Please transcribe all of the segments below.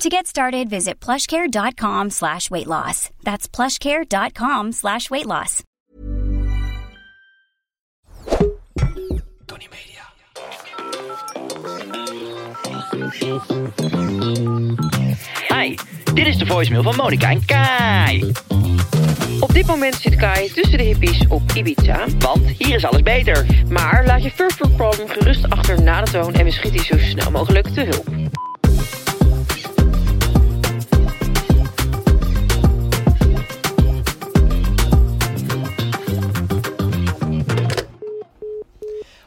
To get started, visit plushcare.com slash weight loss. That's plushcare.com slash weight loss. Tony Media. Hi, dit is de voicemail van Monica en Kai. Op dit moment zit Kai tussen de hippies op Ibiza. Want hier is alles beter. Maar laat je First World Problem gerust achter na de toon en we schieten je zo snel mogelijk te hulp.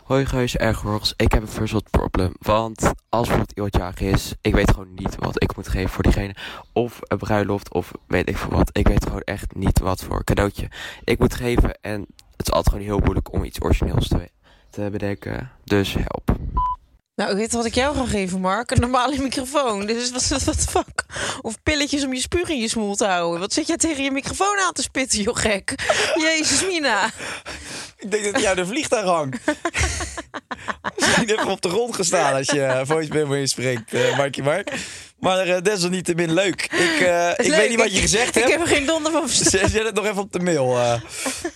Hoi Geus Ergorgs, ik heb een first world problem. Want als bijvoorbeeld iemand jarig is, ik weet gewoon niet wat ik moet geven voor diegene. Of een bruiloft, of weet ik veel wat. Ik weet gewoon echt niet wat voor cadeautje ik moet geven. En het is altijd gewoon heel moeilijk om iets origineels te, te bedenken. Dus help. Nou, dit had ik jou gegeven, Mark. Een normale microfoon. Dus wat wat de fuck? Of pilletjes om je spuug in je smoel te houden. Wat zit jij tegen je microfoon aan te spitten, joh gek? Jezus, Mina. Ik denk dat jij de vliegtuig hangt. Misschien heb je op de grond gestaan als je eh, voicemail inspreekt, eh Markie Mark. Maar eh, desalniettemin leuk. Ik, eh, ik Leuk, weet niet wat je gezegd Ik hebt. heb er geen donder van verstaan. Zet zet het nog even op de mail. eh.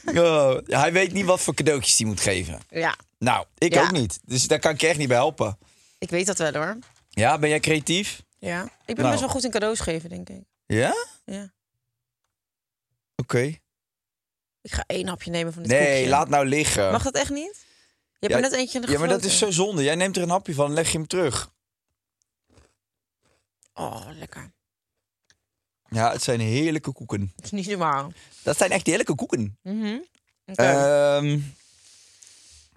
Oh, ja, hij weet niet wat voor cadeautjes hij moet geven. Ja, Nou, ik Ja. ook niet. Dus daar kan ik je echt niet bij helpen. ik weet dat wel hoor. Ja, ben jij creatief? Ja. Ik ben Nou. best wel goed in cadeaus geven, denk ik. Ja? Ja. Oké. Ik ga één hapje nemen van dit Nee, koekje. laat nou liggen. Mag dat echt niet? Je hebt Ja, er net eentje in de Ja, maar dat is zo zonde. Jij neemt er een hapje van en leg je hem terug. Oh, lekker. Ja, het zijn heerlijke koeken. Dat is niet normaal. Mhm. Dat zijn echt heerlijke koeken. Oké. Ehm,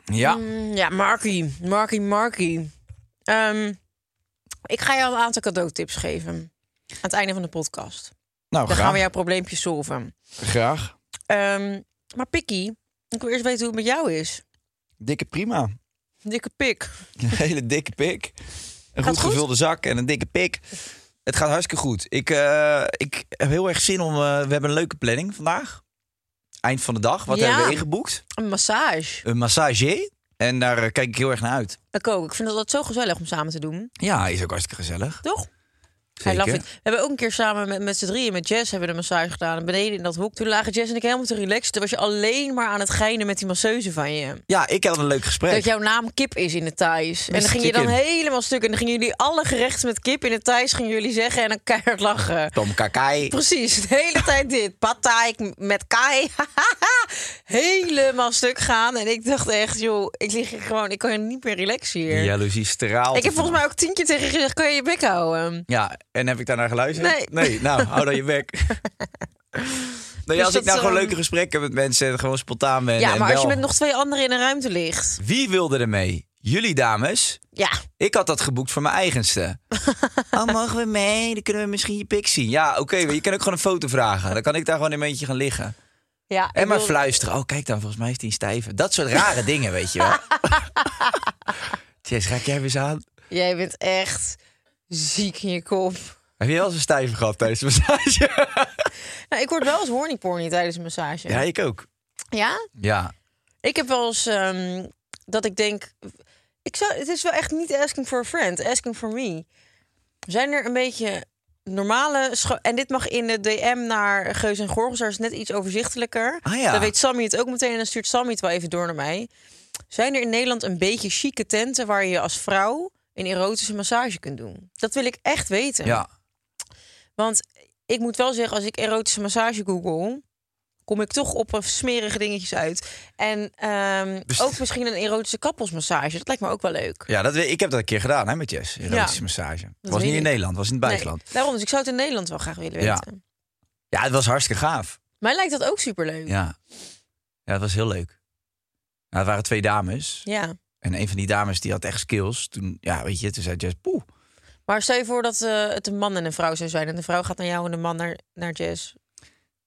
ja. Mm, ja, Markie. Markie, Markie. Ehm, ik ga jou een aantal cadeautips geven. Aan het einde van de podcast. Nou, Dan graag. gaan we jouw probleempje solven. graag. Ehm, maar Pikkie, ik wil eerst weten hoe het met jou is. Dikke prima. Dikke pik. Een hele dikke pik. Een goed, goed? gevulde zak en een dikke pik. Het gaat hartstikke goed. Ik, eh, ik heb heel erg zin om... eh, we hebben een leuke planning vandaag. Eind van de dag. Wat Ja. hebben we ingeboekt? Een massage. Een massage. En daar eh, kijk ik heel erg naar uit. Ik ook. Ik vind dat zo gezellig om samen te doen. Ja, is ook hartstikke gezellig. Toch? I Zeker. love it. We hebben ook een keer samen met, met z'n drieën, met Jess, hebben we een massage gedaan. En beneden in dat hoek, toen lagen Jess en ik helemaal te relaxen. Toen was je alleen maar aan het geinen met die masseuse van je. Ja, ik had een leuk gesprek. Dat jouw naam kip is in het Thais. En Mr. dan ging je dan Chicken. helemaal stuk. En dan gingen jullie alle gerechten met kip in het Thais gingen jullie zeggen en dan keihard lachen. Tom Kakai. Precies, de hele tijd dit. Pad thai met kai. helemaal stuk gaan. En ik dacht echt, joh, ik lig hier gewoon, ik kan hier niet meer relaxen hier. Jaloezie straalt. ik heb volgens mij ook tien keer tegen je gezegd, kan je je bek houden? Ja, en heb ik daarnaar geluisterd? Nee. nou, hou dan je bek. Nee, Dus als ik dat, nou gewoon ehm, leuke gesprekken heb met mensen en gewoon spontaan ben. ja, en maar als je wel- met nog twee anderen in een ruimte ligt. Wie wilde er mee? Jullie dames? Ja, Ik had dat geboekt voor mijn eigenste. oh, mogen we mee? Dan kunnen we misschien je pik zien. Ja, oké, maar je kan ook gewoon een foto vragen. Dan kan ik daar gewoon een beetje gaan liggen. ja. En ik maar wil- fluisteren. Oh, kijk dan, volgens mij is die een stijve. Dat soort rare dingen, weet je wel. Jess, raak jij weer eens aan? Jij bent echt ziek in je kop. Heb je wel eens een stijve gehad tijdens de massage? Nou, ik word wel eens horny porny tijdens een massage. ja, ik ook. Ja? Ja, Ik heb wel eens ehm, dat ik denk... Ik zou, het is wel echt niet asking for a friend, asking for me. Zijn er een beetje normale... scho- En dit mag in de DM naar Geus en Gorgels. Daar is het net iets overzichtelijker. Ah, ja. Dan weet Sammy het ook meteen en dan stuurt Sammy het wel even door naar mij. Zijn er in Nederland een beetje chique tenten... waar je als vrouw een erotische massage kunt doen? Dat wil ik echt weten. ja. Want ik moet wel zeggen, als ik erotische massage google... kom ik toch op smerige dingetjes uit. En ehm, Dus- ook misschien een erotische kappelsmassage. Dat lijkt me ook wel leuk. Ja, dat, weet- ik heb dat een keer gedaan hè, met Jess. Erotische Ja. massage. Dat was weet niet ik. in Nederland, was in het Nee, buitenland. daarom, dus ik zou het in Nederland wel graag willen Ja. weten. Ja, het was hartstikke gaaf. Mij lijkt dat ook superleuk. Ja. Ja, ja het was heel leuk. Nou, het waren twee dames. En een van die dames die had echt skills. Toen, ja, weet je, toen zei Jess, poeh. Maar stel je voor dat eh, het een man en een vrouw zou zijn. En de vrouw gaat naar jou en de man naar, naar Jess.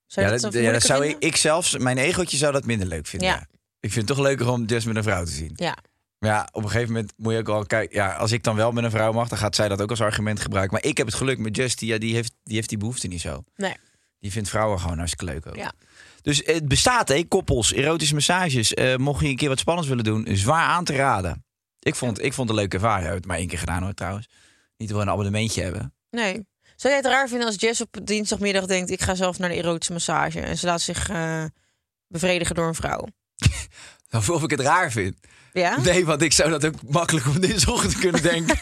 Zou Ja, je dat, dat, zo ja, dat moeilijker zou ik, vinden? ik zelfs, mijn egootje zou dat minder leuk vinden. Ja. ja. Ik vind het toch leuker om Jess met een vrouw te zien. Ja. Maar ja, op een gegeven moment moet je ook al kijken. Ja, als ik dan wel met een vrouw mag, dan gaat zij dat ook als argument gebruiken. Maar ik heb het geluk met Jess, die, ja, die, heeft, die heeft die behoefte niet zo. Nee. Die vindt vrouwen gewoon hartstikke leuk ook. Ja. Dus het bestaat, hè, koppels, erotische massages. Eh, mocht je een keer wat spannends willen doen, zwaar aan te raden. Ik vond, ik vond het een leuke ervaring. Ik heb het maar één keer gedaan hoor, trouwens. Niet gewoon een abonnementje hebben. Nee. Zou jij het raar vinden als Jess op dinsdagmiddag denkt... ik ga zelf naar de erotische massage. En ze laat zich eh, bevredigen door een vrouw. Of, of ik het raar vind. Ja? Nee, want ik zou dat ook makkelijk op dinsdagochtend kunnen denken.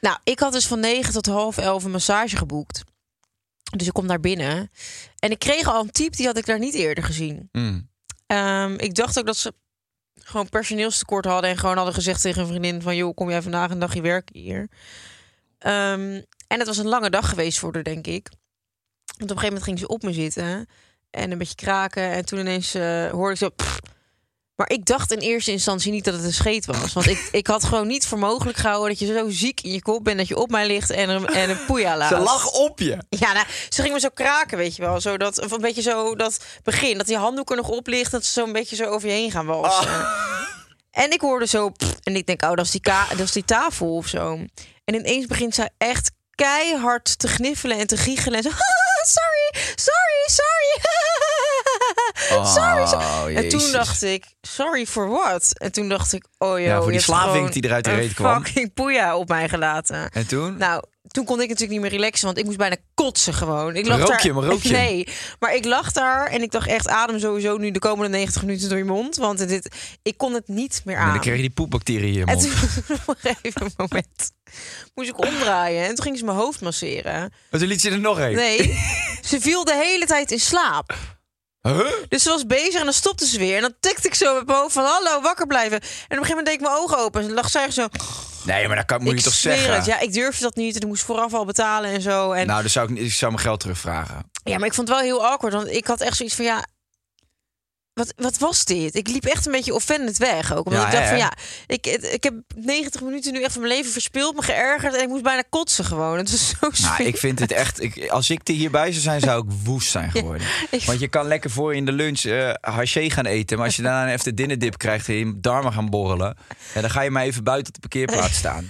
Nou, ik had dus van 9 tot half 11 een massage geboekt. Dus ik kom daar binnen. En ik kreeg al een type, die had ik daar niet eerder gezien. Mm. Ehm, ik dacht ook dat ze gewoon personeelstekort hadden... en gewoon hadden gezegd tegen een vriendin van... joh, kom jij vandaag een dagje werken hier? Ehm, en het was een lange dag geweest voor haar, denk ik. Want op een gegeven moment ging ze op me zitten... en een beetje kraken. En toen ineens eh, hoorde ik zo... "Pff." Maar ik dacht in eerste instantie niet dat het een scheet was. Want ik, ik had gewoon niet voor mogelijk gehouden... dat je zo ziek in je kop bent dat je op mij ligt en een, en een poeia laat. Ze lag op je. Ja, nou, ze ging me zo kraken, weet je wel. Zo dat, of een beetje zo dat begin, dat die handdoek er nog op ligt... dat ze zo een beetje zo over je heen gaan walsen. En ik hoorde zo... pff, en ik denk, oh, dat is, die ka- dat is die tafel of zo. En ineens begint zij echt keihard te gniffelen en te giechelen. En zo, sorry, sorry, sorry. Ah. sorry, sorry. En toen Oh, jezus. dacht ik, sorry voor wat? En toen dacht ik, oh joh, Ja, voor die je hebt slaving gewoon die eruit de een reet kwam. fucking poeia op mij gelaten. En toen? Nou, toen kon ik natuurlijk niet meer relaxen, want ik moest bijna kotsen gewoon. Ik lag Rook daar, je hem, rook je hem? Nee, maar ik lag daar en ik dacht echt, adem sowieso nu de komende 90 minuten door je mond. Want dit, ik kon het niet meer En aan. dan kreeg je die poepbacteriën in je ah. en mond. toen, op een gegeven moment, moest ik omdraaien. En toen ging ze mijn hoofd masseren. Maar toen liet je er nog één. Nee, ze viel de hele tijd in slaap. Huh? Dus ze was bezig en dan stopte ze weer. En dan tikte ik zo met mijn hoofd van, hallo, wakker blijven. En op een gegeven moment deed ik mijn ogen open. En lag zij zo, Nee, maar dat kan, moet ik je toch zweer zeggen? het. Ja, ik durfde dat niet. En ik moest vooraf al betalen en zo. En Nou, dan zou ik, niet- ik zou mijn geld terugvragen. Ja, maar ik vond het wel heel awkward. Want ik had echt zoiets van, ja... Wat, wat was dit? Ik liep echt een beetje offended weg ook. Omdat Ja, ik dacht hè? van, ja... Ik, het- ik heb 90 minuten nu echt van mijn leven verspild, me geërgerd... en ik moest bijna kotsen gewoon. Het was zo Nou, smerig. ik vind het echt... Ik, als ik er hierbij zou zijn, zou ik woest zijn geworden. ik- Want je kan lekker voor in de lunch eh haché gaan eten. Maar als je daarna een even dinnerdip krijgt en je darmen gaan borrelen... Ja, dan ga je maar even buiten op de parkeerplaats staan.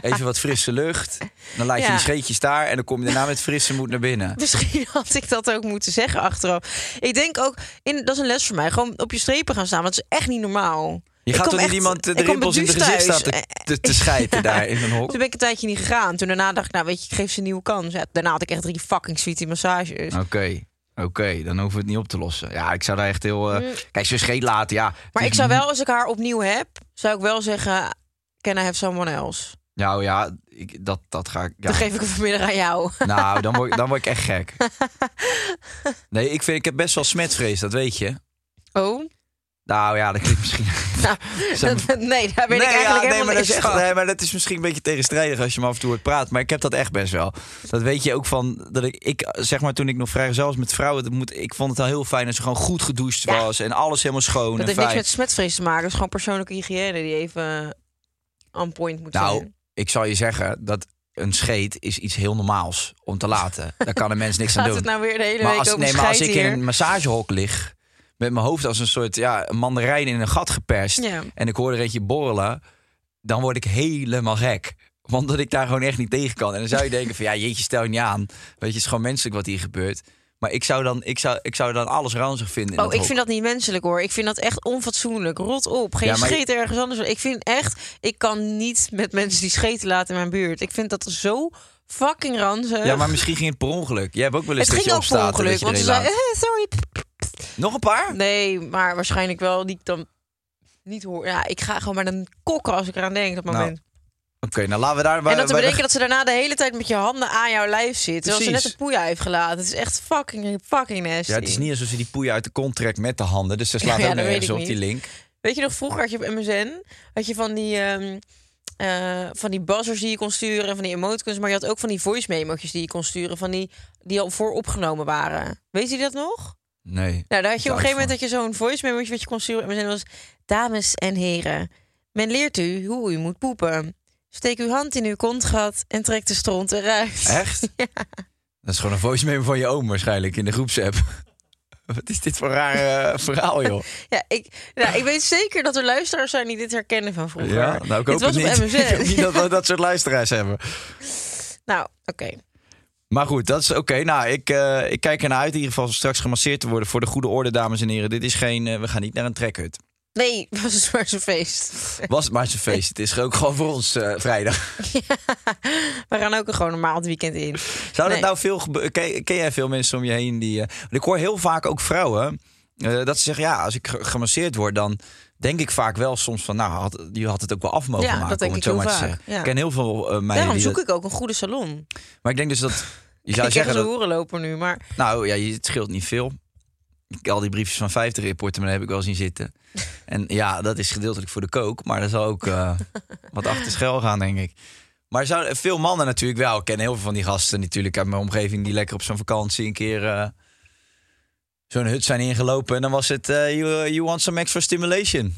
Even wat frisse lucht. Dan laat je Ja. die scheetjes daar en dan kom je daarna met frisse moed naar binnen. Misschien had ik dat ook moeten zeggen achteraf. Ik denk ook, in, dat is een les voor mij. Gewoon op je strepen gaan staan, want dat is echt niet normaal. Je Ik gaat kwam toch niet echt- iemand eh, ik de kwam rimpels in het beduusd gezicht staan thuis. Eh, te, te, te schijten daar in een hok? Toen ben ik een tijdje niet gegaan. Toen daarna dacht ik, nou weet je, ik geef ze een nieuwe kans. Ja, daarna had ik echt drie fucking sweetie massages. Oké. Oké, dan hoeven we het niet op te lossen. Ja, ik zou daar echt heel... eh, Kijk, ze scheet laten, ja. Mm. Maar ik zou wel, als ik haar opnieuw heb, zou ik wel zeggen... Can I have someone else? Nou ja, ik, dat, dat ga ik... Ja. Dan geef ik hem vanmiddag aan jou. Nou, dan word, dan word ik echt gek. Nee, ik, vind, ik heb best wel smetvrees, dat weet je. Oh? Nou ja, dat klinkt misschien... Nou, Zou- dat- nee, daar ben nee, ik ja, eigenlijk nee, helemaal maar dat is niks echt, van. nee, maar dat is misschien een beetje tegenstrijdig als je me af en toe hoort praten. Maar ik heb dat echt best wel. Dat weet je ook van... Dat ik, ik zeg maar, toen ik nog vrijgezel was met vrouwen... Dat moet, ik vond het wel heel fijn dat ze gewoon goed gedoucht was. En alles helemaal schoon Dat en heeft fijn. niks met smetvrees te maken. Het is gewoon persoonlijke hygiëne die even eh, on point moet Nou, zijn. ik zal je zeggen dat een scheet is iets heel normaals om te laten. Daar kan een mens niks aan Gaat doen. het nou weer de hele maar week als, over nee, maar als ik scheiden in een massagehok lig met mijn hoofd als een soort ja, een mandarijn in een gat geperst Ja. en ik hoor er eentje borrelen, dan word ik helemaal gek. Want dat ik daar gewoon echt niet tegen kan. En dan zou je denken van ja, jeetje, stel je niet aan. Weet je, het is gewoon menselijk wat hier gebeurt. Maar ik zou dan, ik zou, ik zou dan alles ranzig vinden. in hier? dat Oh, ik hok. vind dat niet menselijk hoor. Ik vind dat echt onfatsoenlijk. Rot op. Geen Ja, maar je- scheet ergens anders. Ik vind echt, ik kan niet met mensen die scheten laten in mijn buurt. Ik vind dat zo fucking ranzig. Ja, maar misschien ging het per ongeluk. Jij hebt ook wel eens eh, het dat ging je ook per opstaat en ongeluk. dat je Want ze erin zei, laat. eh, sorry, Nog een paar? Nee, maar waarschijnlijk wel die ik dan niet hoor. Ja, ik ga gewoon maar dan kokken als ik eraan denk op dat Nou, moment. nou laten we daar... en dat te bedenken dat ze daarna de hele tijd met je handen aan jouw lijf zit. Terwijl ze net Precies. een poeja heeft gelaten. Het is echt fucking, fucking nasty. Ja, het is niet alsof ze die poeien uit de kont trekt met de handen. Dus ze slaat Ja, ook dat nog weet ergens ik op, niet. die link. Weet je nog, vroeger had je op MSN had je van die, ehm eh, van die buzzers die je kon sturen en van die emoticons. Maar je had ook van die voice memo's die je kon sturen. Van die, die al vooropgenomen waren. Weet je dat nog? Nee. Nou, daar had je op een gegeven Daar moment dat je zo'n voice memootje wat je kon sturen. op MSN was, dames en heren, men leert u hoe u moet poepen. Steek uw hand in uw kontgat en trek de stront eruit. Echt? Ja. Dat is gewoon een voice memo van je oom waarschijnlijk in de groepsapp. Wat is dit voor een raar eh, verhaal, joh? Ja, ik, nou, ik weet zeker dat er luisteraars zijn die dit herkennen van vroeger. Ja, nou, dit ik hoop was het niet. op Ik hoop niet MSN. dat we dat soort luisteraars hebben. nou, oké. Maar goed, dat is oké. Nou, ik, eh, ik kijk ernaar uit in ieder geval straks gemasseerd te worden. Voor de goede orde, dames en heren. Dit is geen... eh, we gaan niet naar een trekhut. Nee, het was een zwaarse feest. Was het maar eens een feest. Het is ook gewoon voor ons eh, vrijdag. We gaan ook gewoon normaal het weekend in. Zou dat Nee. nou veel gebeuren? Ken, ken jij veel mensen om je heen die. eh, want ik hoor heel vaak ook vrouwen. eh, dat ze zeggen, ja, als ik ge- gemasseerd word, dan denk ik vaak wel soms van, nou, had, je had het ook wel af mogen Ja, maken, dat denk om ik het zo heel maar te vaak, zeggen. ja. Ik ken heel veel eh meiden Daarom die zoek dat- ik ook een goede salon. Maar ik denk dus dat, je zou ik heb zeggen, een dat, hoerenloper nu, maar nou ja, je- het scheelt niet veel. Ik, al die briefjes van 50 in je portemonnee heb ik wel zien zitten. En ja, dat is gedeeltelijk voor de kook, maar er zal ook eh, wat achter schuil gaan, denk ik. Maar zou, veel mannen natuurlijk wel. Ik ken heel veel van die gasten natuurlijk uit mijn omgeving... die lekker op zo'n vakantie een keer eh, zo'n hut zijn ingelopen. En dan was het, eh, you, you want some extra stimulation.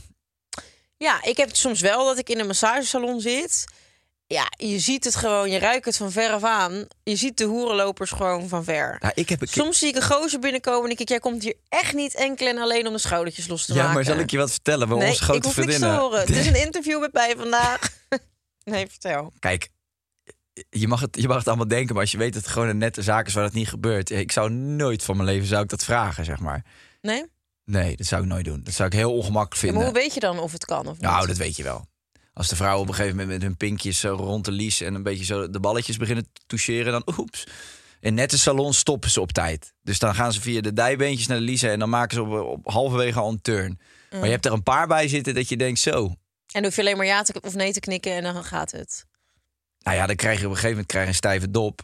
ja, ik heb het soms wel dat ik in een massagesalon zit. Ja, je ziet het gewoon, je ruikt het van ver af aan. Je ziet de hoerenlopers gewoon van ver. Ja, ik heb een keer- Soms zie ik een gozer binnenkomen en ik denk, jij komt hier echt niet enkel en alleen om de schoudertjes los te ja, maken. maar zal ik je wat vertellen? Bij nee, onze grote ik hoef niks te vriendinnen. horen. Het is een interview met mij vandaag. nee, vertel. Kijk, je mag, het, je mag het allemaal denken, maar als je weet dat het gewoon een nette zaak is waar dat niet gebeurt. eh, Ik zou nooit van mijn leven zou ik dat vragen, zeg maar. Nee? Ja, Nee, dat zou ik nooit doen. Dat zou ik heel ongemakkelijk maar vinden. hoe weet je dan of het kan of niet? nou, dat weet je wel. Als de vrouwen op een gegeven moment met hun pinkjes zo rond de lies en een beetje zo de balletjes beginnen te toucheren, dan oeps. In nette salons stoppen ze op tijd. Dus dan gaan ze via de dijbeentjes naar de liezen en dan maken ze op, op halverwege al een turn. Mm. Maar je hebt er een paar bij zitten dat je denkt zo. En dan hoef je alleen maar ja te, of nee te knikken en dan gaat het. Nou ja, dan krijg je op een gegeven moment krijg je een stijve dop.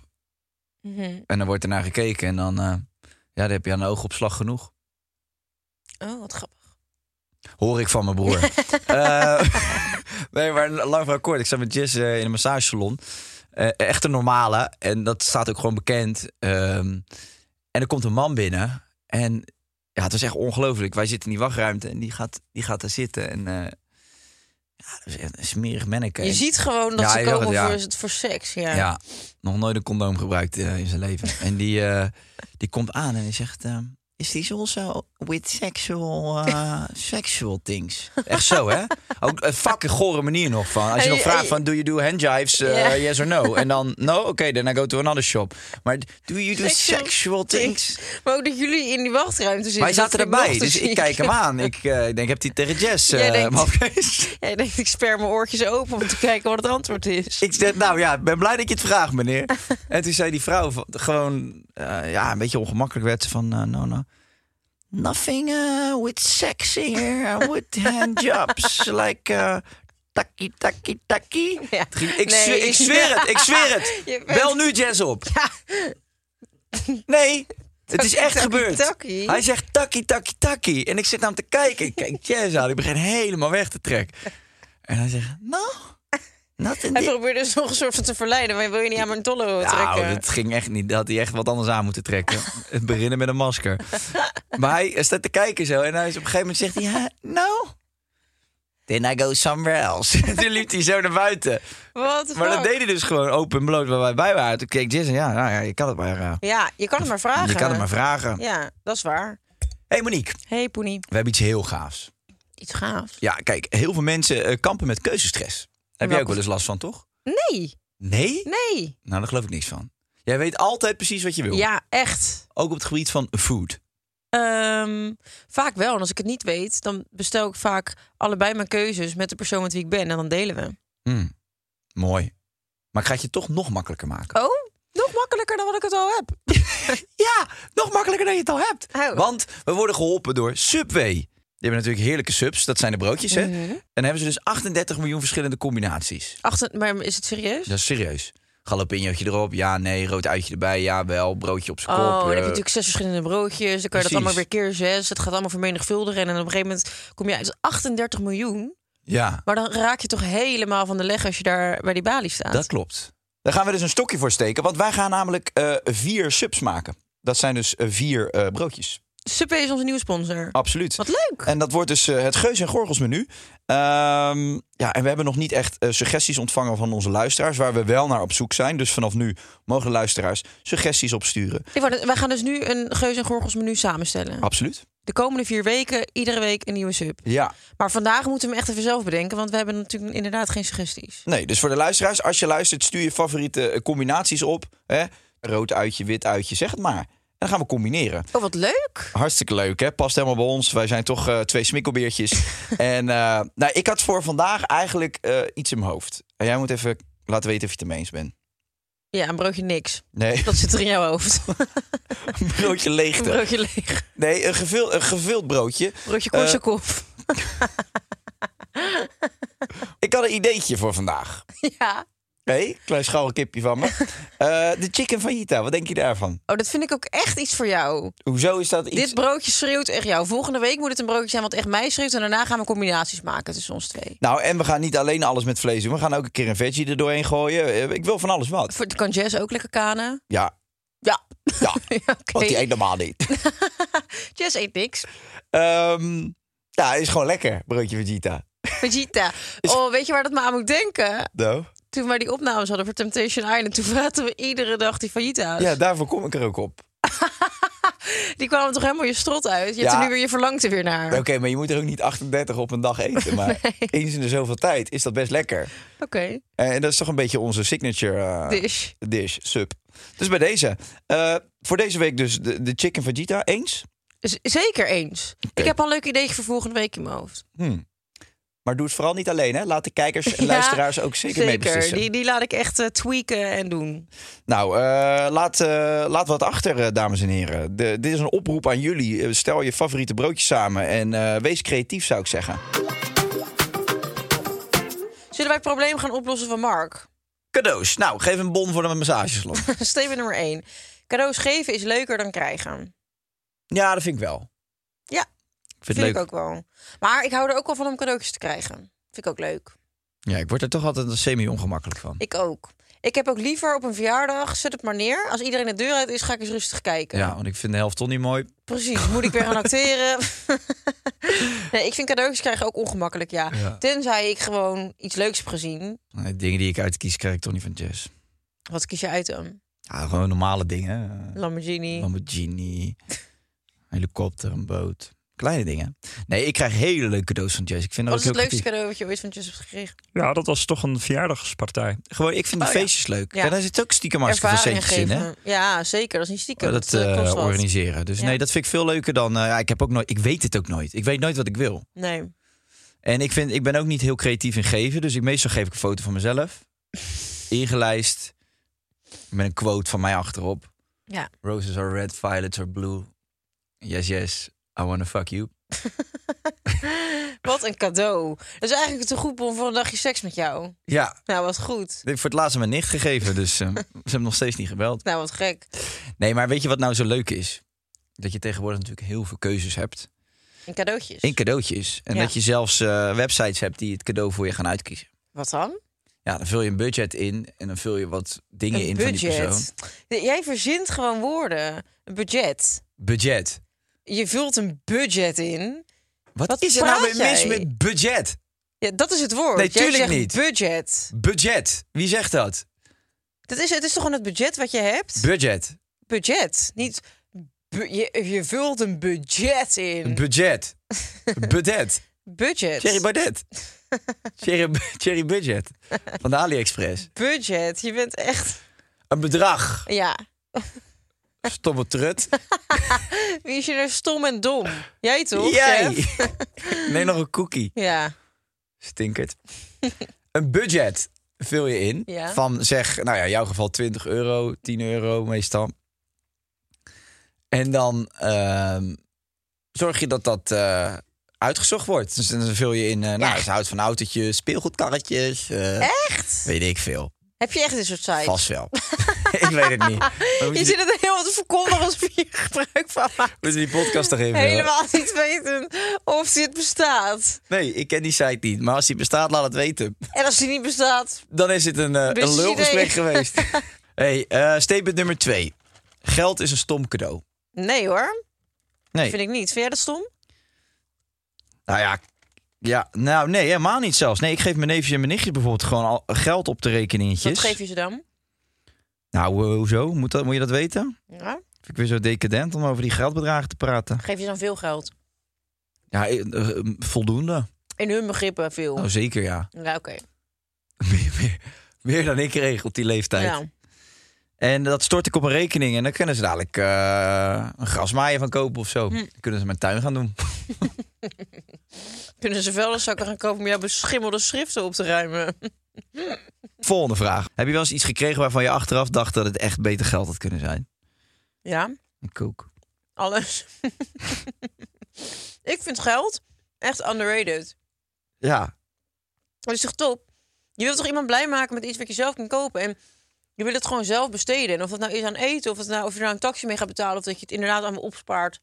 Mhm. En dan wordt er naar gekeken en dan, eh, ja, dan heb je aan de oogopslag genoeg. Oh, wat grappig. Hoor ik van mijn broer. Eh, nee, maar lang verhaal kort. Ik zat met Jess eh, in een massagesalon. Eh, echt een normale. En dat staat ook gewoon bekend. Ehm, en er komt een man binnen. En ja, het was echt ongelooflijk. Wij zitten in die wachtruimte en die gaat, die gaat daar zitten. En eh, ja, dat is echt een smerig manneke. Je En- ziet gewoon dat Ja, ze je zag komen het, ja. voor, het voor seks. Ja. Ja, nog nooit een condoom gebruikt eh, in zijn leven. En die, eh, die komt aan en die zegt... ehm, Is this also with sexual, eh, sexual things? Echt zo, hè? Ook een fucking gore manier nog van. Als je En nog je- vraagt en- van... Do you do handjives? eh, Ja. Yes or no? En dan... No? Oké, then I go to another shop. Maar do you do Sexual sexual things? Maar ook dat jullie in die wachtruimte zitten. Wij dat zaten vind nog erbij, te dus ik ziek. kijk hem aan. Ik eh, ik denk, heb die tegen Jess Jij eh, denkt- mogen lezen? Jij denkt, ik sper mijn oortjes open om te kijken wat het antwoord is. Ik zei, nou ja, ik ben blij dat je het vraagt, meneer. En toen zei die vrouw van- gewoon, eh, ja, een beetje ongemakkelijk werd ze van, eh, no, no. Nothing eh, with sex here, eh, with handjobs, like eh takkie, takkie, takkie. Ja. Het ging- Ik, Nee. zweer, ik zweer het, ik zweer het. Je bent- Bel nu Jazz op. Nee, het is echt Takkie, gebeurd. takkie. Hij zegt takkie, takkie, takkie. En ik zit naar hem te kijken. Ik kijk Jazz aan, ik begin helemaal weg te trekken. En hij zegt, nou, no, nothing. Hij di- probeerde dus nog een soort van te verleiden. Maar wil je niet aan mijn tollo nou, trekken? dat ging echt niet. Dat had hij echt wat anders aan moeten trekken. Het beginnen met een masker. maar hij staat te kijken zo. En hij is op een gegeven moment zegt hij... "Ja, No. Then I go somewhere else. En toen liep hij zo naar buiten. What the Maar dat fuck? deed hij dus gewoon open en bloot waar wij bij waren. Toen keek Jason, ja, nou ja, je kan het maar, eh, Ja, je kan het maar vragen. je kan het maar vragen. Ja, dat is waar. hey Monique, hey, Poenie. we hebben iets heel gaafs. Iets gaafs. Ja, kijk, heel veel mensen eh, kampen met keuzestress. Heb jij Welke- ook wel eens last van, toch? Nee, Nee? nee. Nou, daar geloof ik niks van. Jij weet altijd precies wat je wil. Ja, echt. Ook op het gebied van food. Ehm, vaak wel. En als ik het niet weet, dan bestel ik vaak allebei mijn keuzes met de persoon met wie ik ben. En dan delen we. Hmm, Mooi. Maar ik ga het je toch nog makkelijker maken. Oh, nog makkelijker dan wat ik het al heb. Ja, nog makkelijker dan je het al hebt. Oh. Want we worden geholpen door Subway. hebben natuurlijk heerlijke subs, dat zijn de broodjes. Mhm. Hè? En dan hebben ze dus 38 miljoen verschillende combinaties. Dus Achter, maar is het serieus? Dat is serieus. Jalapenootje erop, ja, nee. Rood uitje erbij, ja, wel. Broodje op zijn Oh, dan kop. heb je eh, natuurlijk zes verschillende broodjes. Dan kan je dat Precies. allemaal weer keer zes. Het gaat allemaal vermenigvuldigen. En dan op een gegeven moment kom je uit Het is 38 miljoen. Ja, Maar dan raak je toch helemaal van de leg als je daar bij die balie staat. dat klopt. Daar gaan we dus een stokje voor steken, want wij gaan namelijk eh, vier subs maken. Dat zijn dus eh, vier eh, broodjes. Subway is onze nieuwe sponsor. Absoluut. Wat leuk. En dat wordt dus eh, het Geus en Gorgels menu. Ehm, ja, en we hebben nog niet echt eh, suggesties ontvangen van onze luisteraars, waar we wel naar op zoek zijn. Dus vanaf nu mogen luisteraars suggesties opsturen. Ik wou net- Wij gaan dus nu een Geus en Gorgels menu samenstellen. Absoluut. De komende vier weken, iedere week een nieuwe sub. Ja. Maar vandaag moeten we hem echt even zelf bedenken. Want we hebben natuurlijk inderdaad geen suggesties. Nee, dus voor de luisteraars, als je luistert, stuur je favoriete eh, combinaties op. Hè? Rood uitje, wit uitje, zeg het maar. En dan gaan we combineren. Oh, wat leuk. Hartstikke leuk, hè? Past helemaal bij ons. Wij zijn toch eh, twee smikkelbeertjes. en eh, nou, ik had voor vandaag eigenlijk eh, iets in mijn hoofd. En jij moet even laten weten of je het ermee eens bent. Ja, een broodje niks. Nee, Dat zit er in jouw hoofd. een broodje Een leegte. broodje leeg. Nee, een, gevul, een gevuld broodje. Broodje Eh, Korsakoff. ik had een ideetje voor vandaag. ja. Hé, klein scharrelkipje van me. Eh, de chicken fajita, wat denk je daarvan? Oh, dat vind ik ook echt iets voor jou. Hoezo is dat iets... Dit broodje schreeuwt echt jou. Volgende week moet het een broodje zijn wat echt mij schreeuwt. En daarna gaan we combinaties maken tussen ons twee. Nou, en we gaan niet alleen alles met vlees doen. We gaan ook een keer een veggie er doorheen gooien. Eh, Ik wil van alles wat. Voor- Kan Jess ook lekker kanen? Ja, Ja. ja. Oké. Want die eet normaal niet. Jess eet niks. Ehm, ja, is gewoon lekker, broodje vegeta. Vegeta. Oh, weet je waar dat me aan moet denken? No? Toen wij die opnames hadden voor Temptation Island... toen praten we iedere dag die fajita's. Ja, daarvoor kom ik er ook op. Die kwamen toch helemaal je strot uit? Je hebt Ja. er nu weer je verlangte weer naar. Oké, maar je moet er ook niet 38 op een dag eten. Maar eens in de zoveel tijd is dat best lekker. Oké. Eh, En dat is toch een beetje onze signature eh, Dish. dish, sub. Dus bij deze. eh, voor deze week dus de, de chicken fajita eens. Z- zeker eens. Ik heb al een leuk ideetje voor volgende week in mijn hoofd. Hmm. Maar doe het vooral niet alleen, hè. Laat de kijkers en Ja, luisteraars ook zeker, mee beslissen. Die, die laat ik echt eh, tweaken en doen. Nou, eh, laat, eh, laat wat achter, eh, dames en heren. De, dit is een oproep aan jullie. Eh, Stel je favoriete broodjes samen en eh, wees creatief, zou ik zeggen. Zullen wij het probleem gaan oplossen van Mark? Cadeaus. Nou, geef een bon voor een massagesalon. Statement nummer 1. Cadeaus geven is leuker dan krijgen. ja, dat vind ik wel. Ja, Ik vind, vind, het leuk. ik ook wel. Maar ik hou er ook wel van om cadeautjes te krijgen. Vind ik ook leuk. Ja, ik word er toch altijd een semi-ongemakkelijk van. Ik ook. Ik heb ook liever op een verjaardag, zet het maar neer. Als iedereen de deur uit is, ga ik eens rustig kijken. Ja, want ik vind de helft toch niet mooi. Precies, moet ik weer gaan acteren? nee, ik vind cadeautjes krijgen ook ongemakkelijk, ja. Ja. Tenzij ik gewoon iets leuks heb gezien. Nee, dingen die ik uitkies, krijg ik toch niet van Jess. Wat kies je uit dan? Ja, gewoon normale dingen. Eh, Lamborghini. Lamborghini, een helikopter, een boot. Kleine dingen. Nee, ik krijg hele leuke cadeaus van Jess. Ik vind dat Wat is ook het heel leukste creatief. cadeau wat je ooit van Jess hebt gekregen? Ja, dat was toch een verjaardagspartij. Gewoon, ik vind de Oh, ja. feestjes leuk. Ja. Ja. daar zit ook stiekem hartstikke veel Ervaring centjes in, hè? geven. Ja, zeker. Dat is niet stiekem. dat eh, eh, kost wat. organiseren. Dus Ja. nee, dat vind ik veel leuker dan. eh, ja, ik heb ook nooit. Ik weet het ook nooit. Ik weet nooit wat ik wil. Nee. En ik, vind, ik ben ook niet heel creatief in geven. Dus ik, meestal geef ik een foto van mezelf. Ingelijst. Met een quote van mij achterop. Ja. Roses are red, violets are blue. Yes, yes. I wanna fuck you. Wat een cadeau. Dat is eigenlijk te goed om voor een dagje seks met jou. Ja, Nou, wat goed. dit heb ik voor het laatst aan mijn nicht gegeven. Dus eh, ze hebben nog steeds niet gebeld. Nou, wat gek. Nee, maar weet je wat nou zo leuk is? Dat je tegenwoordig natuurlijk heel veel keuzes hebt. En cadeautjes. In cadeautjes. En Ja. dat je zelfs eh, websites hebt die het cadeau voor je gaan uitkiezen. Wat dan? Ja, dan vul je een budget in en dan vul je wat dingen Een in van die persoon. budget. Jij verzint gewoon woorden. Een budget. Budget. Je vult een budget in. Wat, Wat is er nou praat weer mis jij? met budget? Ja, dat is het woord. Nee, Jij tuurlijk zegt niet. Budget. Budget. Wie zegt dat? Dat is, het is toch gewoon het budget wat je hebt? Budget. budget. Niet bu- je, je vult een budget in. Budget. Budget. budget. Thierry Baudet. Thierry, Thierry Budget. Van de AliExpress. budget. Je bent echt. Een bedrag. Ja. Stomme trut. Wie is je nou stom en dom? Jij toch? Jij. Jeff? Neem nog een cookie. Ja. Stinkert. een budget vul je in. Ja. Van zeg, nou ja, in jouw geval 20 euro, 10 euro meestal. En dan ehm, zorg je dat dat eh, uitgezocht wordt. Dus dan vul je in, eh, nou, ze houdt van autootjes, speelgoedkarretjes. eh, Echt? Weet ik veel. Heb je echt dit soort sites? Vast wel. ik weet het niet. We Je moeten zit die, het helemaal te verkondigen als je hier gebruik van maakt. moeten die podcast toch even... Helemaal niet weten of dit bestaat. Nee, ik ken die site niet. Maar als die bestaat, laat het weten. En als die niet bestaat, Dan is het een, eh, Best een lulgesprek idee. geweest. hey, eh, statement nummer twee. Geld is een stom cadeau. nee hoor. Nee. Vind ik niet. Vind jij dat stom? Nou ja, ja, nou nee, helemaal niet zelfs. Nee, ik geef mijn neefjes en mijn nichtjes bijvoorbeeld gewoon al geld op de rekeningetjes. Wat geef je ze dan? Nou, eh, hoezo? Moet, dat, moet je dat weten? Ja. Vind ik weer zo decadent om over die geldbedragen te praten. Geef je ze dan veel geld? Ja, eh, eh, voldoende. In hun begrippen veel. Nou, zeker ja. ja, oké. meer, meer- meer dan ik kreeg op die leeftijd. Ja. En dat stort ik op een rekening. En dan kunnen ze dadelijk eh, een grasmaaier van kopen of Hm. zo. Dan kunnen ze mijn tuin gaan doen. Kunnen ze vuilniszakken gaan kopen om jouw beschimmelde schriften op te ruimen? Volgende vraag. Heb je wel eens iets gekregen waarvan je achteraf dacht dat het echt beter geld had kunnen zijn? Ja, Ik ook. alles. ik vind geld echt underrated. Ja. Dat is toch top? Je wilt toch iemand blij maken met iets wat je zelf kan kopen? En je wil het gewoon zelf besteden. En of dat nou is aan eten, of, het nou, of je nou een taxi mee gaat betalen... of dat je het inderdaad allemaal opspaart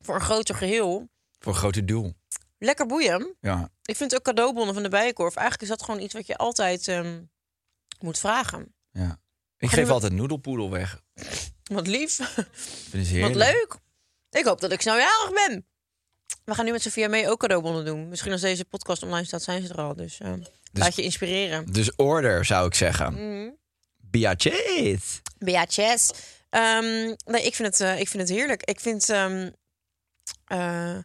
voor een groter geheel. Voor een grote doel. Lekker boeien. Ja. Ik vind ook cadeaubonnen van de Bijenkorf... eigenlijk is dat gewoon iets wat je altijd ehm, moet vragen. ja. Ik Kunnen geef we- altijd noedelpoedel weg. Wat lief. Vind ze Wat heerlijk. leuk. Ik hoop dat ik snel jarig ben. We gaan nu met Sophia mee ook cadeaubonnen doen. Misschien als deze podcast online staat, zijn ze er al. Dus, eh, laat je inspireren. Dus order zou ik zeggen. Mm. Biatjes. Beatjes. Ehm nee, ik vind, het, eh, ik vind het heerlijk. Ik vind... ehm, eh,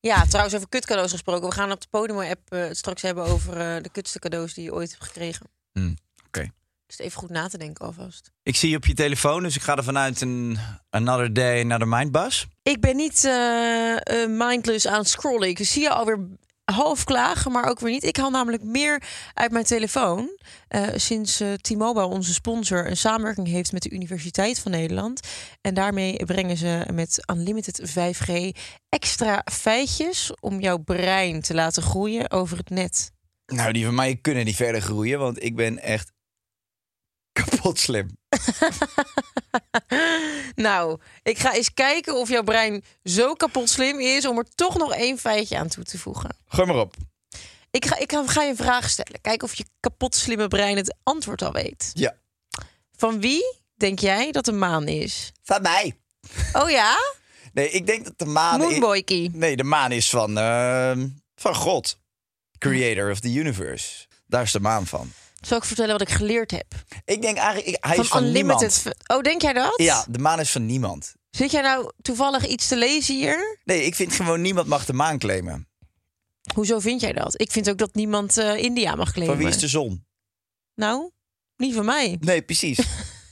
ja, trouwens over kutcadeaus gesproken. We gaan op de Podimo-app eh, het straks hebben over eh, de kutste cadeaus die je ooit hebt gekregen. Hmm, oké. Dus even goed na te denken alvast. Ik zie je op je telefoon, dus ik ga er vanuit een another day, another mindbus. Ik ben niet eh, eh, mindless aan het scrollen. Ik zie je alweer half klagen, maar ook weer niet. Ik haal namelijk meer uit mijn telefoon. Eh, sinds eh T-Mobile, onze sponsor, een samenwerking heeft met de Universiteit van Nederland. En daarmee brengen ze met Unlimited 5G extra feitjes om jouw brein te laten groeien over het net. Nou, die van mij kunnen niet verder groeien, want ik ben echt kapot slim. Nou, ik ga eens kijken of jouw brein zo kapot slim is om er toch nog één feitje aan toe te voegen. Gooi maar op. Ik ga, ik ga- ga je een vraag stellen. Kijk of je kapot slimme brein het antwoord al weet. Ja. Van wie denk jij dat de maan is? Van mij. Oh ja? Nee, ik denk dat de maan... Moonboykie. Ah, Nee, de maan is van, ehm, van God. Creator of the universe. Daar is de maan van. Zal ik vertellen wat ik geleerd heb? Ik denk eigenlijk, ik, hij is van niemand. Oh, denk jij dat? Ja, de maan is van niemand. Zit jij nou toevallig iets te lezen hier? Nee, ik vind gewoon niemand mag de maan claimen. Hoezo vind jij dat? Ik vind ook dat niemand eh, India mag claimen. Van wie is de zon? Nou, niet van mij. Nee, precies. In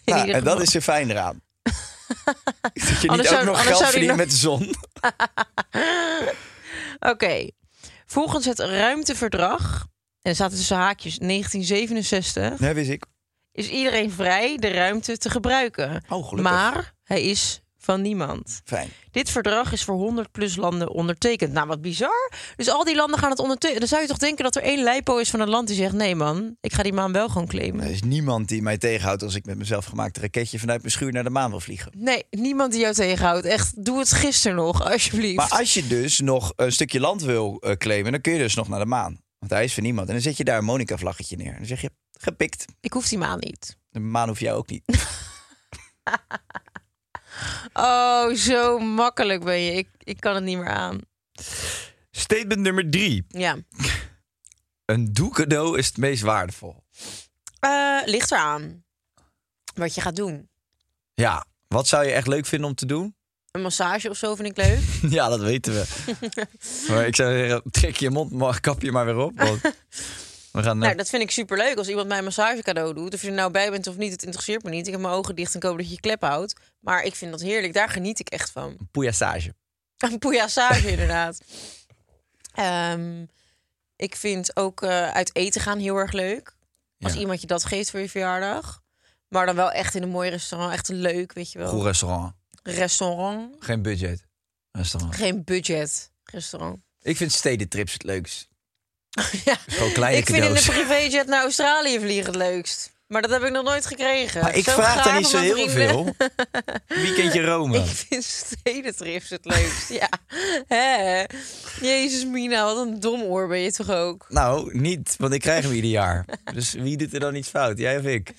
Nou, ieder en dat geval. is er fijn eraan. dat je niet Anders zou- ook nog anders geld zou die verdient nog- met de zon. Oké. Volgens het ruimteverdrag, en er zaten tussen haakjes 1967, Nee, wist ik. is iedereen vrij de ruimte te gebruiken. Oh, gelukkig. Maar hij is van niemand. Fijn. Dit verdrag is voor 100 plus landen ondertekend. Nou, wat bizar. Dus al die landen gaan het ondertekenen. Dan zou je toch denken dat er één lijpo is van een land die zegt... nee man, ik ga die maan wel gewoon claimen. Er is niemand die mij tegenhoudt als ik met mezelf gemaakt raketje vanuit mijn schuur naar de maan wil vliegen. Nee, niemand die jou tegenhoudt. Echt, doe het gisteren nog, alsjeblieft. Maar als je dus nog een stukje land wil eh, claimen, dan kun je dus nog naar de maan. Want hij is van niemand. En dan zet je daar een Monica-vlaggetje neer. En dan zeg je, gepikt. Ik hoef die maan niet. De maan hoeft jou ook niet. Oh, zo makkelijk ben je. Ik, ik kan het niet meer aan. Statement nummer drie. Ja. Een doekcadeau is het meest waardevol. Eh, ligt eraan wat je gaat doen. Ja, wat zou je echt leuk vinden om te doen? Een massage of zo vind ik leuk. ja, dat weten we. maar ik zou zeggen, trek je mond, maar kap je maar weer op. Want we gaan Nou, dat vind ik superleuk als iemand mij een massagecadeau doet. Of je er nou bij bent of niet, het interesseert me niet. Ik heb mijn ogen dicht en ik hoop dat je je klep houdt. Maar ik vind dat heerlijk, daar geniet ik echt van. poeiasage. Een poeiasage inderdaad. Ehm, ik vind ook eh, uit eten gaan heel erg leuk. Als Ja. iemand je dat geeft voor je verjaardag. Maar dan wel echt in een mooi restaurant. Echt een leuk, weet je wel. Goed restaurant. Restaurant. Geen budget. Restaurant. Geen budget. restaurant. Ik vind stedentrips het leukst. ja. Gewoon kleine ik vind in een cadeaus. privéjet naar Australië vliegen het leukst. Maar dat heb ik nog nooit gekregen. Maar ik Zo vraag daar gaaf niet zo om aan heel vrienden. veel. Weekendje Rome. Ik vind stedentrips het leukst. ja. Hè? Jezus, Mina, wat een dom oor ben je toch ook? Nou, niet, want ik krijg hem ieder jaar. Dus wie doet er dan iets fout? Jij of ik?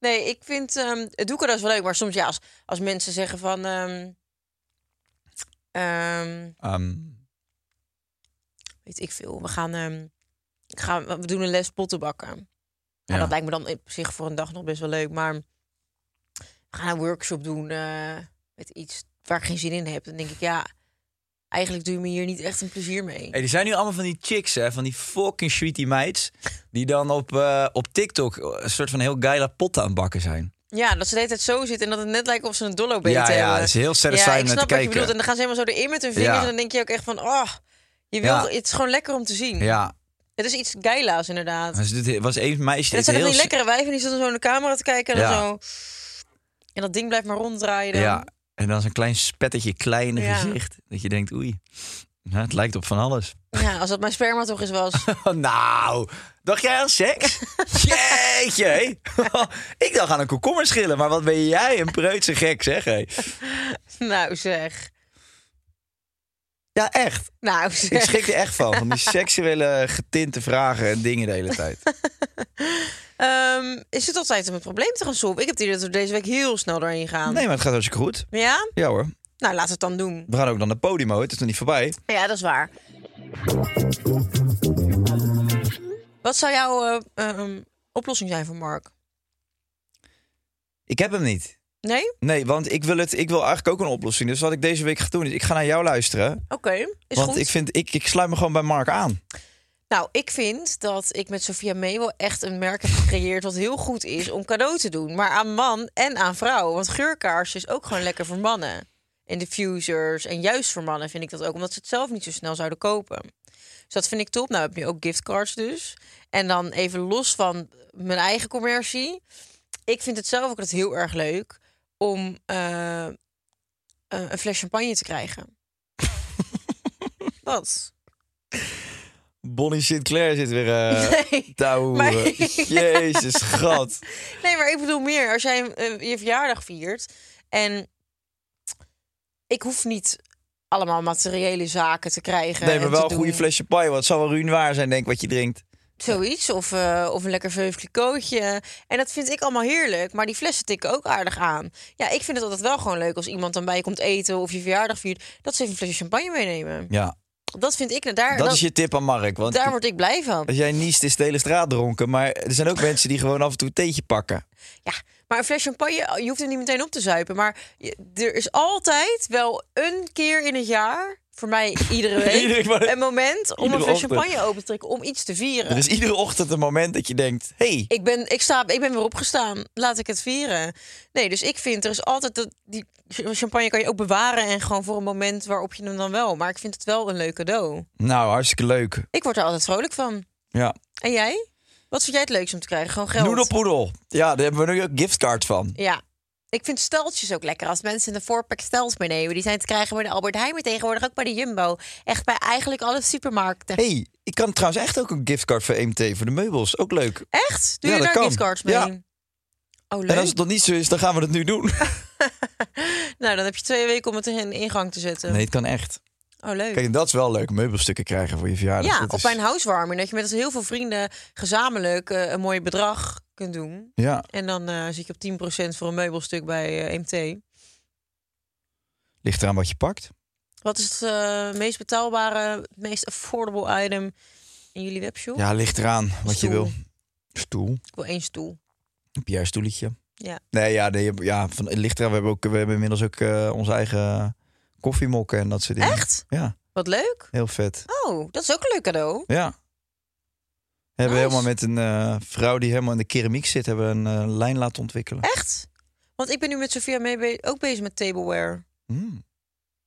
Nee, ik vind ehm het doeken is wel leuk. Maar soms ja, als, als mensen zeggen van... ehm, ehm, Ehm, weet ik veel. We gaan, ehm, ik ga, we doen een les potten bakken. ja. Nou, dat lijkt me dan op zich voor een dag nog best wel leuk. Maar we gaan een workshop doen eh, met iets waar ik geen zin in heb. Dan denk ik, ja, eigenlijk doe je me hier niet echt een plezier mee. Hey, er zijn nu allemaal van die chicks, hè, van die fucking sweetie meids... die dan op, eh, op TikTok een soort van heel geile pot aan het bakken zijn. Ja, dat ze de hele tijd zo zit en dat het net lijkt of ze een dollo beet Ja, ja, hebben. dat is heel Ja, satisfying ik om snap wat naar te je kijken. bedoelt. En dan gaan ze helemaal zo erin met hun vingers. Ja. En dan denk je ook echt van, oh, je wil, Ja. het is gewoon lekker om te zien. Ja, Het is iets geila's inderdaad. maar ze doet- was één meisje... En dat deed zijn echt heel die s- lekkere wijven. Die zitten zo in de camera te kijken en dan Ja. zo... En dat ding blijft maar ronddraaien dan. Ja, en dan zo'n klein spettetje klein Ja. gezicht. Dat je denkt, oei, ja, het lijkt op van alles. Ja, als dat mijn sperma toch eens was. nou, dacht jij aan seks? Jeetje, hé. ik dacht aan een komkommer schillen, maar wat ben jij een preutse gek, zeg. hé. nou zeg. Ja, echt. Nou zeg. Ik schrik er echt van, van die seksuele getinte vragen en dingen de hele tijd. Ehm, is het altijd om het probleem te gaan solven? Ik heb het idee dat we deze week heel snel doorheen gaan. Nee, maar het gaat hartstikke goed. Ja? Ja hoor, Nou, laten we het dan doen. we gaan ook dan naar Podimo, het is nog niet voorbij. Ja, dat is waar. Wat zou jouw eh, ehm, oplossing zijn voor Mark? Ik heb hem niet. Nee? Oké. Nee, want ik wil, het, ik wil eigenlijk ook een oplossing. Dus wat ik deze week ga doen, is ik ga naar jou luisteren. Is want goed. ik vind, ik, ik sluit me gewoon bij Mark aan. Nou, ik vind dat ik met Sophia Mabel echt een merk heb gecreëerd... wat heel goed is om cadeau te doen. Maar aan man en aan vrouw. Want geurkaars is ook gewoon lekker voor mannen. En diffusers. En juist voor mannen vind ik dat ook. Omdat ze het zelf niet zo snel zouden kopen. Dus dat vind ik top. Nou heb je ook giftcards dus. En dan even los van mijn eigen commercie. Ik vind het zelf ook dat heel erg leuk... om eh, eh, een fles champagne te krijgen. Wat? Bonnie Sinclair zit weer eh Nee, te ouwen. maar- Jezus, gat. Nee, maar ik bedoel meer. Als jij eh, je verjaardag viert en ik hoef niet allemaal materiële zaken te krijgen. Nee, maar en wel te een goede doen. flesje paai. Want het zal wel ruïn waar zijn, denk ik, wat je drinkt. Zoiets, of, eh, of een lekker veuglicootje. En dat vind ik allemaal heerlijk. Maar die flessen tikken ook aardig aan. Ja, ik vind het altijd wel gewoon leuk als iemand dan bij je komt eten of je verjaardag viert. Dat ze even een flesje champagne meenemen. Ja, Dat vind ik, daar, dat, dat- is je tip aan Mark. Want daar word ik blij van. als jij niest, is de hele straat dronken. Maar er zijn ook mensen die gewoon af en toe een theetje pakken. Ja, maar een fles champagne, oh, je hoeft hem niet meteen op te zuipen. Maar je- er is altijd wel een keer in het jaar, voor mij iedere week, Iedere keer. een moment om een Iedere fles ochtend. champagne open te trekken om iets te vieren. Er is iedere ochtend een moment dat je denkt... hey, Ik, ben, ik, sta, ik ben weer opgestaan, laat ik het vieren. Nee, dus ik vind er is altijd dat die champagne kan je ook bewaren en gewoon voor een moment waarop je hem dan wel. Maar ik vind het wel een leuk cadeau. nou, hartstikke leuk. Ik word er altijd vrolijk van. Ja. En jij? Wat vind jij het leukst om te krijgen? Gewoon geld. Noedelpoedel. Ja, daar hebben we nu ook giftcard van. Ja. Ik vind steltjes ook lekker. Als mensen in de voorpak stelt meenemen. Die zijn te krijgen bij de Albert Heijn. Maar tegenwoordig ook bij de Jumbo. Echt bij eigenlijk alle supermarkten. hey, ik kan trouwens echt ook een giftcard voor EMT voor de meubels. Ook leuk. Echt? Doe Ja, je dat daar kan. giftcards mee? Ja. Oh, leuk. En als het nog niet zo is, dan gaan we dat nu doen. Nou, dan heb je twee weken om het in ingang te zetten. Nee, het kan echt. Oh, leuk. Kijk, en dat is wel leuk. Meubelstukken krijgen voor je verjaardag. ja, Dat of is- bij een housewarming. Dat je met heel veel vrienden gezamenlijk eh, een mooi bedrag kunt doen. Ja, En dan eh, zit je op 10% voor een meubelstuk bij eh MT. ligt eraan wat je pakt. Wat is het eh, meest betaalbare, het meest affordable item in jullie webshop? Ja, ligt eraan wat Stoel. je wil. Stoel. Ik wil één stoel. Heb jij een stoeletje? Ja. Nee, ja, nee, ja van, het ligt eraan. We hebben, ook, we hebben inmiddels ook eh, onze eigen koffiemokken en dat soort dingen. Echt? Ja, Wat leuk. heel vet. Oh, dat is ook een leuk cadeau. Ja. We hebben Nice. helemaal met een eh, vrouw die helemaal in de keramiek zit, hebben we een eh, lijn laten ontwikkelen. Echt? Want ik ben nu met Sophia mee be- ook bezig met tableware. Hmm.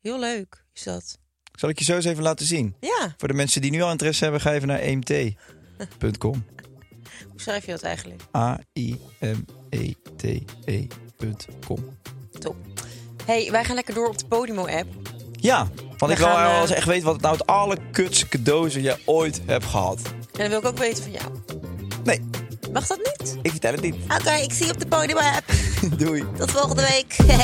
Heel leuk is dat. Zal ik je zo eens even laten zien? Ja, Voor de mensen die nu al interesse hebben, ga even naar E emt.com. hoe schrijf je dat eigenlijk? A-I-M-E-T-E.com. E Top. hey, wij gaan lekker door op de Podimo-app. Ja, Want ik We wil gaan, wel eh, eens echt weten wat het nou het allerkutste cadeau is dat jij ooit hebt gehad. En dan wil ik ook weten van jou. Nee, Mag dat niet? ik vertel het niet. Ah, Oké, ik zie je op de podium. Doei. Tot volgende week.